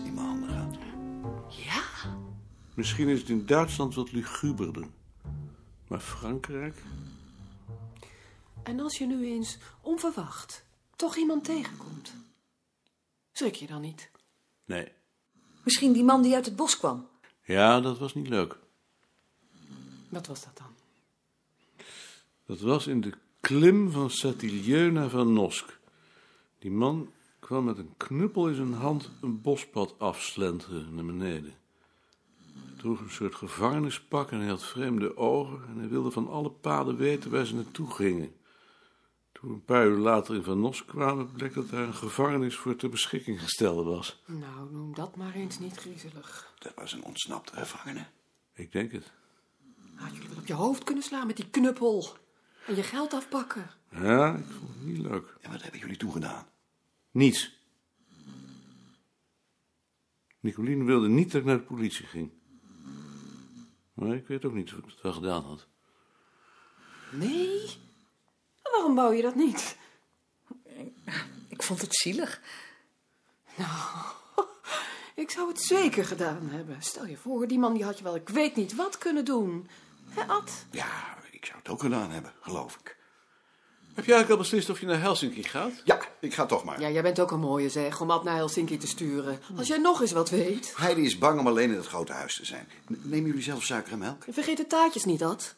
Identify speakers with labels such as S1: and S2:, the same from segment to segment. S1: gaan.
S2: Ja?
S1: Misschien is het in Duitsland wat luguberder. Maar Frankrijk?
S2: En als je nu eens onverwacht toch iemand tegenkomt, schrik je dan niet?
S1: Nee.
S3: Misschien die man die uit het bos kwam.
S1: Ja, dat was niet leuk.
S2: Wat was dat dan?
S1: Dat was in de klim van Satilieu naar Van Nosk. Die man kwam met een knuppel in zijn hand een bospad afslenteren naar beneden. Hij droeg een soort gevangenispak en hij had vreemde ogen en hij wilde van alle paden weten waar ze naartoe gingen. Toen we een paar uur later in Van Nosk kwamen, bleek dat daar een gevangenis voor ter beschikking gesteld was.
S2: Nou, noem dat maar eens niet griezelig.
S4: Dat was een ontsnapte gevangene.
S1: Ik denk het.
S2: Had je wel op je hoofd kunnen slaan met die knuppel en je geld afpakken.
S1: Ja, ik vond het niet leuk.
S4: En wat hebben jullie toen gedaan?
S1: Niets. Nicoline wilde niet dat ik naar de politie ging. Maar ik weet ook niet of ik dat wel gedaan had.
S2: Nee? Waarom wou je dat niet?
S3: Ik vond het zielig.
S2: Nou, Ik zou het zeker gedaan hebben. Stel je voor, die man die had je wel ik weet niet wat kunnen doen. Hè, Ad?
S4: Ja, ik zou het ook gedaan hebben, geloof ik.
S1: Heb jij eigenlijk al beslist of je naar Helsinki gaat?
S4: Ja, ik ga toch maar.
S2: Ja, jij bent ook een mooie zeg, om Ad naar Helsinki te sturen. Als jij nog eens wat weet.
S4: Heidi is bang om alleen in het grote huis te zijn. N- Nemen jullie zelf suiker en melk?
S2: Vergeet de taartjes niet, Ad.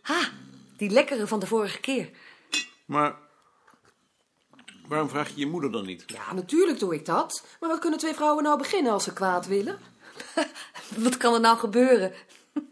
S3: Ha, die lekkere van de vorige keer.
S1: Maar waarom vraag je je moeder dan niet?
S2: Ja, natuurlijk doe ik dat. Maar wat kunnen twee vrouwen nou beginnen als ze kwaad willen?
S3: Wat kan er nou gebeuren?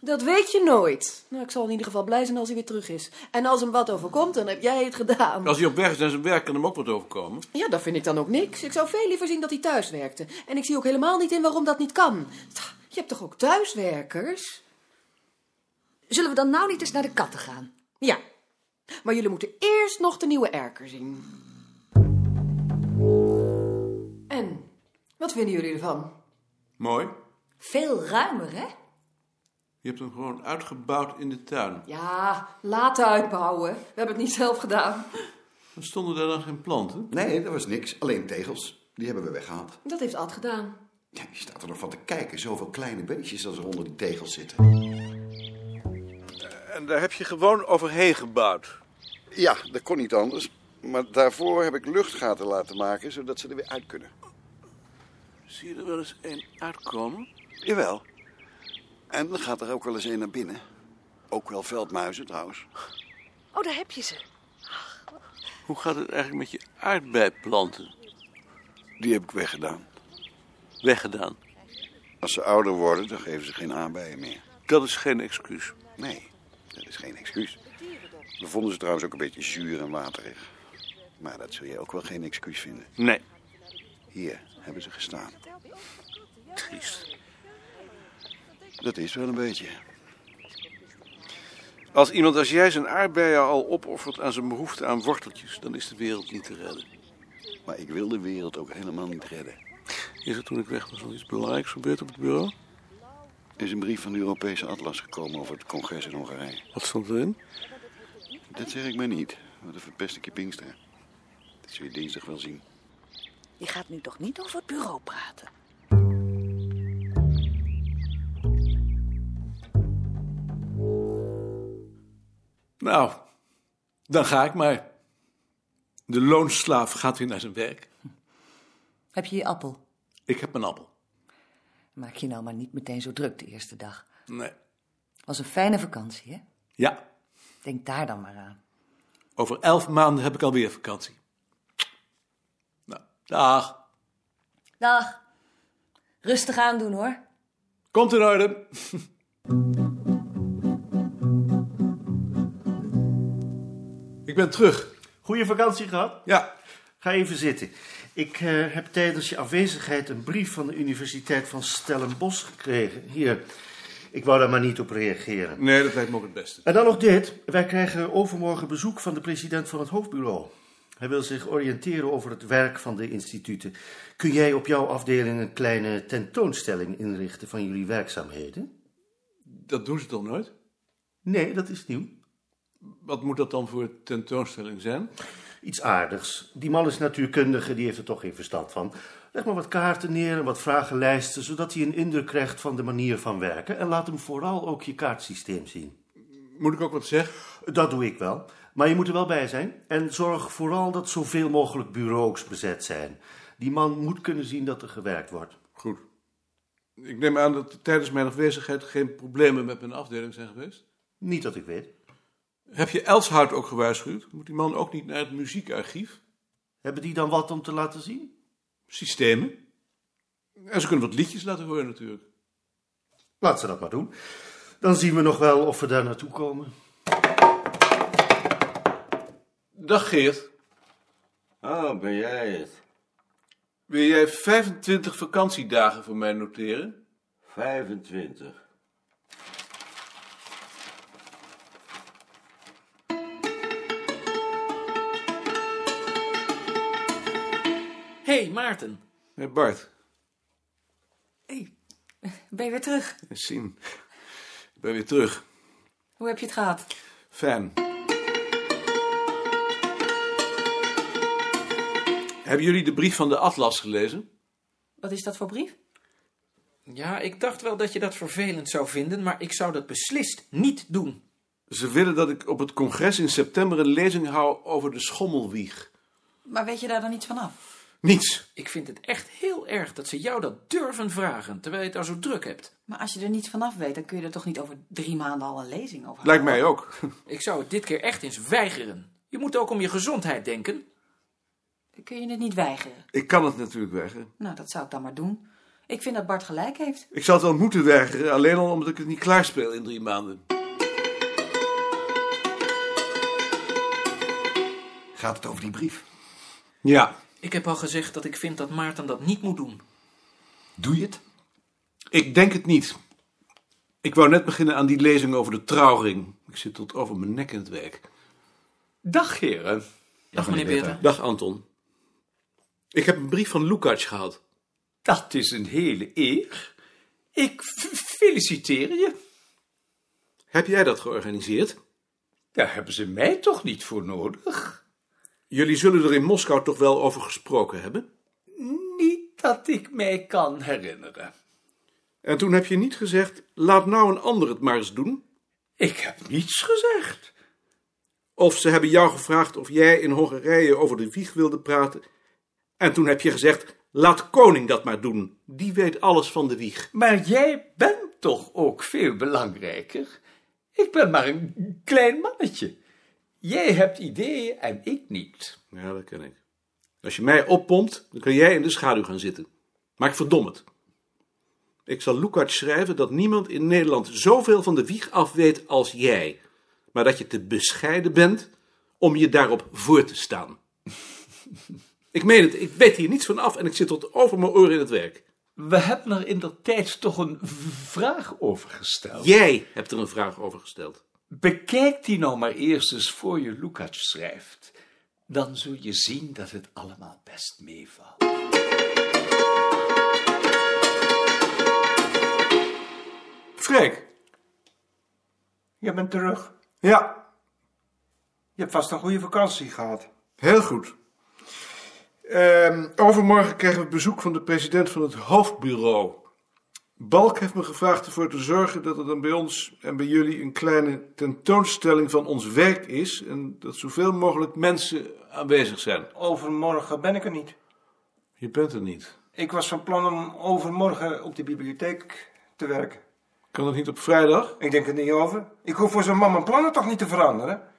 S2: Dat weet je nooit. Nou, ik zal in ieder geval blij zijn als hij weer terug is. En als hem wat overkomt, dan heb jij het gedaan.
S1: Als hij op weg is naar zijn werk, kan hem ook wat overkomen.
S2: Ja, dat vind ik dan ook niks. Ik zou veel liever zien dat hij thuis werkte. En ik zie ook helemaal niet in waarom dat niet kan. Tja, Je hebt toch ook thuiswerkers?
S3: Zullen we dan nou niet eens naar de katten gaan?
S2: Ja. Maar jullie moeten eerst nog de nieuwe erker zien. En, wat vinden jullie ervan?
S1: Mooi.
S3: Veel ruimer, hè?
S1: Je hebt hem gewoon uitgebouwd in de tuin.
S2: Ja, laten uitbouwen. We hebben het niet zelf gedaan.
S1: Dan stonden daar dan geen planten.
S4: Nee, dat was niks. Alleen tegels. Die hebben we weggehaald.
S2: Dat heeft Ad gedaan.
S4: Ja, je staat er nog van te kijken. Zoveel kleine beestjes als er onder die tegels zitten.
S1: En daar heb je gewoon overheen gebouwd.
S4: Ja, dat kon niet anders. Maar daarvoor heb ik luchtgaten laten maken, zodat ze er weer uit kunnen.
S1: Zie je er wel eens een uitkomen?
S4: Jawel. En dan gaat er ook wel eens een naar binnen. Ook wel veldmuizen trouwens.
S3: Oh, daar heb je ze.
S1: Hoe gaat het eigenlijk met je aardbeiplanten?
S4: Die heb ik weggedaan.
S1: Weggedaan.
S4: Als ze ouder worden, dan geven ze geen aanbijen meer.
S1: Dat is geen excuus.
S4: Nee, dat is geen excuus. We vonden ze trouwens ook een beetje zuur en waterig. Maar dat zul je ook wel geen excuus vinden.
S1: Nee.
S4: Hier hebben ze gestaan.
S1: Triest.
S4: Dat is wel een beetje.
S1: Als iemand als jij zijn aardbeien al opoffert aan zijn behoefte aan worteltjes, dan is de wereld niet te redden.
S4: Maar ik wil de wereld ook helemaal niet redden.
S1: Is er toen ik weg was nog iets belangrijks gebeurd op het bureau?
S4: Er is een brief van de Europese Atlas gekomen over het congres in Hongarije.
S1: Wat stond erin?
S4: Dat zeg ik mij niet, want dan verpest ik je Pinkster. Dat zul je dinsdag wel zien.
S3: Je gaat nu toch niet over het bureau praten?
S5: Nou, dan ga ik maar. De loonslaaf gaat weer naar zijn werk.
S3: Heb je je appel?
S5: Ik heb mijn appel.
S3: Maak je nou maar niet meteen zo druk de eerste dag.
S5: Nee.
S3: Was een fijne vakantie, hè?
S5: Ja,
S3: Denk daar dan maar aan.
S5: over elf maanden heb ik alweer vakantie. Nou, dag.
S3: Dag. Rustig aandoen, hoor.
S5: Komt in orde. ik ben terug.
S6: Goede vakantie gehad?
S5: Ja,
S6: Ga even zitten. Ik eh, heb tijdens je afwezigheid een brief van de Universiteit van Stellenbosch gekregen. Hier, ik wou daar maar niet op reageren.
S5: nee, dat lijkt me ook het beste.
S6: En dan nog dit. Wij krijgen overmorgen bezoek van de president van het hoofdbureau. Hij wil zich oriënteren over het werk van de instituten. Kun jij op jouw afdeling een kleine tentoonstelling inrichten van jullie werkzaamheden?
S5: Dat doen ze toch nooit?
S6: Nee, dat is nieuw.
S5: Wat moet dat dan voor tentoonstelling zijn?
S6: Iets aardigs. Die man is natuurkundige, die heeft er toch geen verstand van. Leg maar wat kaarten neer en wat vragenlijsten, zodat hij een indruk krijgt van de manier van werken. En laat hem vooral ook je kaartsysteem zien.
S5: Moet ik ook wat zeggen?
S6: Dat doe ik wel. Maar je moet er wel bij zijn. En zorg vooral dat zoveel mogelijk bureaus bezet zijn. Die man moet kunnen zien dat er gewerkt wordt.
S5: Goed. Ik neem aan dat er tijdens mijn afwezigheid geen problemen met mijn afdeling zijn geweest.
S6: Niet dat ik weet.
S5: Heb je Elshout ook gewaarschuwd? Moet die man ook niet naar het muziekarchief?
S6: Hebben die dan wat om te laten zien?
S5: Systemen? En ze kunnen wat liedjes laten horen natuurlijk.
S6: Laat ze dat maar doen. Dan zien we nog wel of we daar naartoe komen.
S5: Dag Geert.
S7: Oh, ben jij het?
S5: Wil jij 25 vakantiedagen voor mij noteren?
S7: 25.
S8: Hé, hey, Maarten.
S5: Hey Bart,
S3: Ben je weer terug?
S5: eens zien. Ik ben weer terug.
S3: Hoe heb je het gehad?
S5: Fijn. Hebben jullie de brief van de Atlas gelezen?
S3: Wat is dat voor brief?
S8: Ja, ik dacht wel dat je dat vervelend zou vinden, maar ik zou dat beslist niet doen.
S5: Ze willen dat ik op het congres in september een lezing hou over de schommelwieg.
S3: Maar weet je daar dan iets van af?
S5: Niets.
S8: Ik vind het echt heel erg dat ze jou dat durven vragen, terwijl je het al zo druk hebt.
S3: Maar als je er niets vanaf weet, dan kun je er toch niet over drie maanden al een lezing over houden?
S5: Lijkt mij ook.
S8: Ik zou het dit keer echt eens weigeren. Je moet ook om je gezondheid denken.
S3: Kun je het niet weigeren?
S5: Ik kan het natuurlijk weigeren.
S3: Nou, dat zou ik dan maar doen. Ik vind dat Bart gelijk heeft.
S5: Ik zou het wel moeten weigeren, alleen al omdat ik het niet klaarspeel in drie maanden.
S4: Gaat het over die brief?
S5: Ja,
S8: Ik heb al gezegd dat ik vind dat Maarten dat niet moet doen.
S4: Doe je het?
S5: ik denk het niet. Ik wou net beginnen aan die lezing over de trouwring. Ik zit tot over mijn nek in het werk. Dag, heren.
S8: Dag, meneer Beerta.
S5: Dag, Anton. Ik heb een brief van Lukács gehad.
S9: Dat is een hele eer. Ik f- feliciteer je.
S5: Heb jij dat georganiseerd?
S9: Daar hebben ze mij toch niet voor nodig?
S5: Jullie zullen er in Moskou toch wel over gesproken hebben?
S9: Niet dat ik mij kan herinneren.
S5: En toen heb je niet gezegd, laat nou een ander het maar eens doen?
S9: Ik heb niets gezegd.
S5: Of ze hebben jou gevraagd of jij in Hongarije over de wieg wilde praten. En toen heb je gezegd: laat koning dat maar doen. Die weet alles van de wieg.
S9: Maar jij bent toch ook veel belangrijker? Ik ben maar een klein mannetje. Jij hebt ideeën en ik niet.
S5: Ja, dat ken ik. Als je mij oppompt, dan kan jij in de schaduw gaan zitten. Maar ik verdom het. Ik zal Lukács schrijven dat niemand in Nederland zoveel van de wieg af weet als jij. Maar dat je te bescheiden bent om je daarop voor te staan. ik meen het, ik weet hier niets van af en ik zit tot over mijn oren in het werk.
S9: We hebben er in de tijd toch een v- vraag over gesteld.
S5: Jij hebt er een vraag over gesteld.
S9: Bekijk die nou maar eerst eens voor je Lukács schrijft. Dan zul je zien dat het allemaal best meevalt.
S5: Freek.
S10: Je bent terug.
S5: Ja,
S10: Je hebt vast een goede vakantie gehad.
S5: heel goed. Ehm, overmorgen krijgen we bezoek van de president van het hoofdbureau. Balk heeft me gevraagd ervoor te zorgen dat er dan bij ons en bij jullie een kleine tentoonstelling van ons werk is. En dat zoveel mogelijk mensen aanwezig zijn.
S10: Overmorgen ben ik er niet.
S5: Je bent er niet.
S10: Ik was van plan om overmorgen op de bibliotheek te werken.
S5: Kan dat niet op vrijdag?
S10: Ik denk er niet over. Ik hoef voor zo'n man mijn plannen toch niet te veranderen?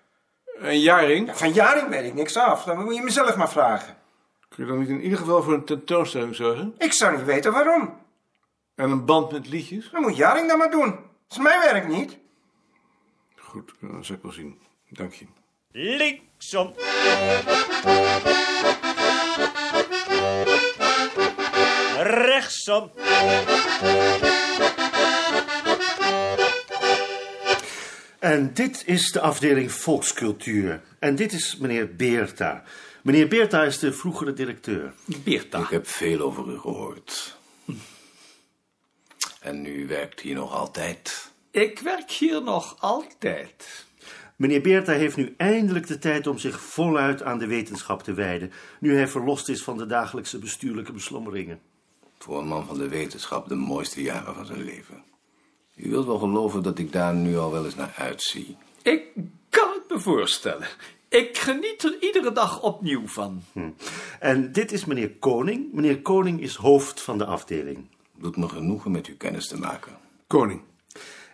S5: Een jaring?
S10: Ja, van Jaring weet ik niks af. Dan moet je mezelf maar vragen.
S5: Kun je dan niet in ieder geval voor een tentoonstelling zorgen?
S10: Ik zou niet weten waarom.
S5: En een band met liedjes?
S10: Dan moet Jaring dat maar doen. Dat is mijn werk niet.
S5: Goed, dat zal ik wel zien. Dank je.
S11: Linksom. Rechtsom.
S6: En dit is de afdeling volkscultuur. En dit is meneer Beerta. Meneer Beerta is de vroegere directeur.
S9: Beerta.
S7: Ik heb veel over u gehoord. En nu werkt hij nog altijd.
S9: Ik werk hier nog altijd.
S6: Meneer Beerta heeft nu eindelijk de tijd om zich voluit aan de wetenschap te wijden. Nu hij verlost is van de dagelijkse bestuurlijke beslommeringen.
S5: Voor een man van de wetenschap de mooiste jaren van zijn leven. U wilt wel geloven dat ik daar nu al wel eens naar uitzie.
S8: Ik kan het me voorstellen. Ik geniet er iedere dag opnieuw van.
S6: Hm. En dit is meneer Koning. Meneer Koning is hoofd van de afdeling.
S5: Doet me genoegen met u kennis te maken.
S6: Koning.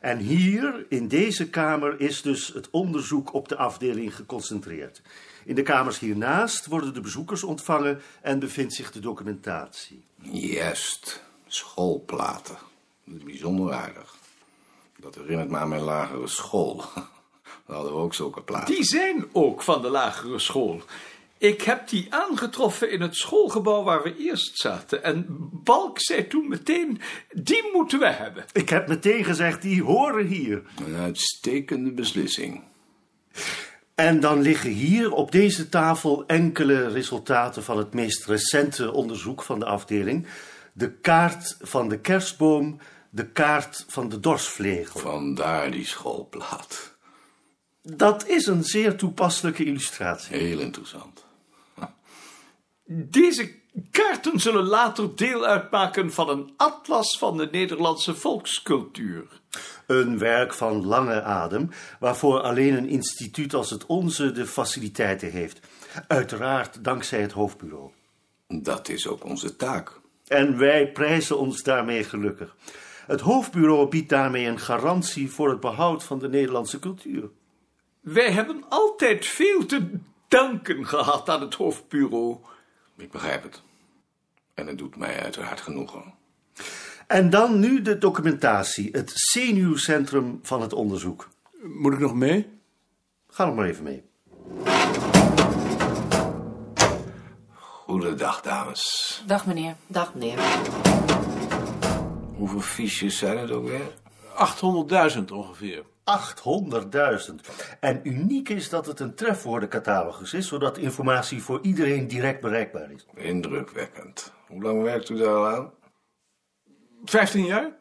S6: En hier, in deze kamer, is dus het onderzoek op de afdeling geconcentreerd. In de kamers hiernaast worden de bezoekers ontvangen en bevindt zich de documentatie.
S5: Juist, schoolplaten. Dat is bijzonder aardig. Dat herinnert me aan mijn lagere school. Daar hadden we ook zulke platen.
S8: Die zijn ook van de lagere school. Ik heb die aangetroffen in het schoolgebouw waar we eerst zaten. En Balk zei toen meteen, die moeten we hebben.
S6: Ik heb meteen gezegd, die horen hier.
S5: Een uitstekende beslissing.
S6: En dan liggen hier op deze tafel enkele resultaten van het meest recente onderzoek van de afdeling. De kaart van de kerstboom, de kaart van de dorsvlegel.
S5: Vandaar die schoolplaat.
S6: Dat is een zeer toepasselijke illustratie.
S5: Heel interessant.
S8: Deze kaarten zullen later deel uitmaken van een atlas van de Nederlandse volkscultuur.
S6: Een werk van lange adem, waarvoor alleen een instituut als het onze de faciliteiten heeft. Uiteraard dankzij het hoofdbureau.
S5: Dat is ook onze taak.
S6: En wij prijzen ons daarmee gelukkig. Het hoofdbureau biedt daarmee een garantie voor het behoud van de Nederlandse cultuur.
S8: Wij hebben altijd veel te danken gehad aan het hoofdbureau.
S5: Ik begrijp het. En het doet mij uiteraard genoegen.
S6: En dan nu de documentatie, het zenuwcentrum van het onderzoek.
S12: Moet ik nog mee?
S6: Ga nog maar even mee.
S5: Goedendag, dames.
S2: Dag meneer. Dag meneer.
S5: Hoeveel fiches zijn het ook weer?
S12: 800.000 ongeveer.
S6: 800.000. En uniek is dat het een trefwoordencatalogus is, zodat informatie voor iedereen direct bereikbaar is.
S5: Indrukwekkend. Hoe lang werkt u daar al aan?
S12: 15 jaar?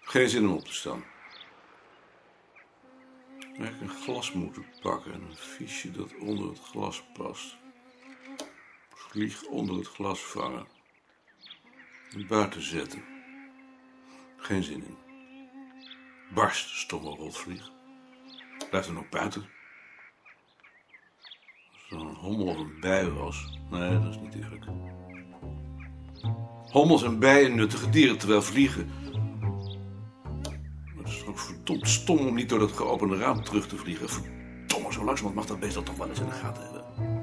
S7: Geen zin om op te staan. Had ik een glas moeten pakken en een fiche dat onder het glas past. Vlieg onder het glas vangen. En buiten zetten. Geen zin in. Barst, stomme rotvlieg. Blijf er nog buiten. Als er een hommel of een bij was. Nee, dat is niet eerlijk. Hommels en bijen nuttige dieren terwijl vliegen. Maar het is ook verdomd stom om niet door dat geopende raam terug te vliegen. Verdomme, zo langzamerhand mag dat beest dat toch wel eens in de gaten hebben.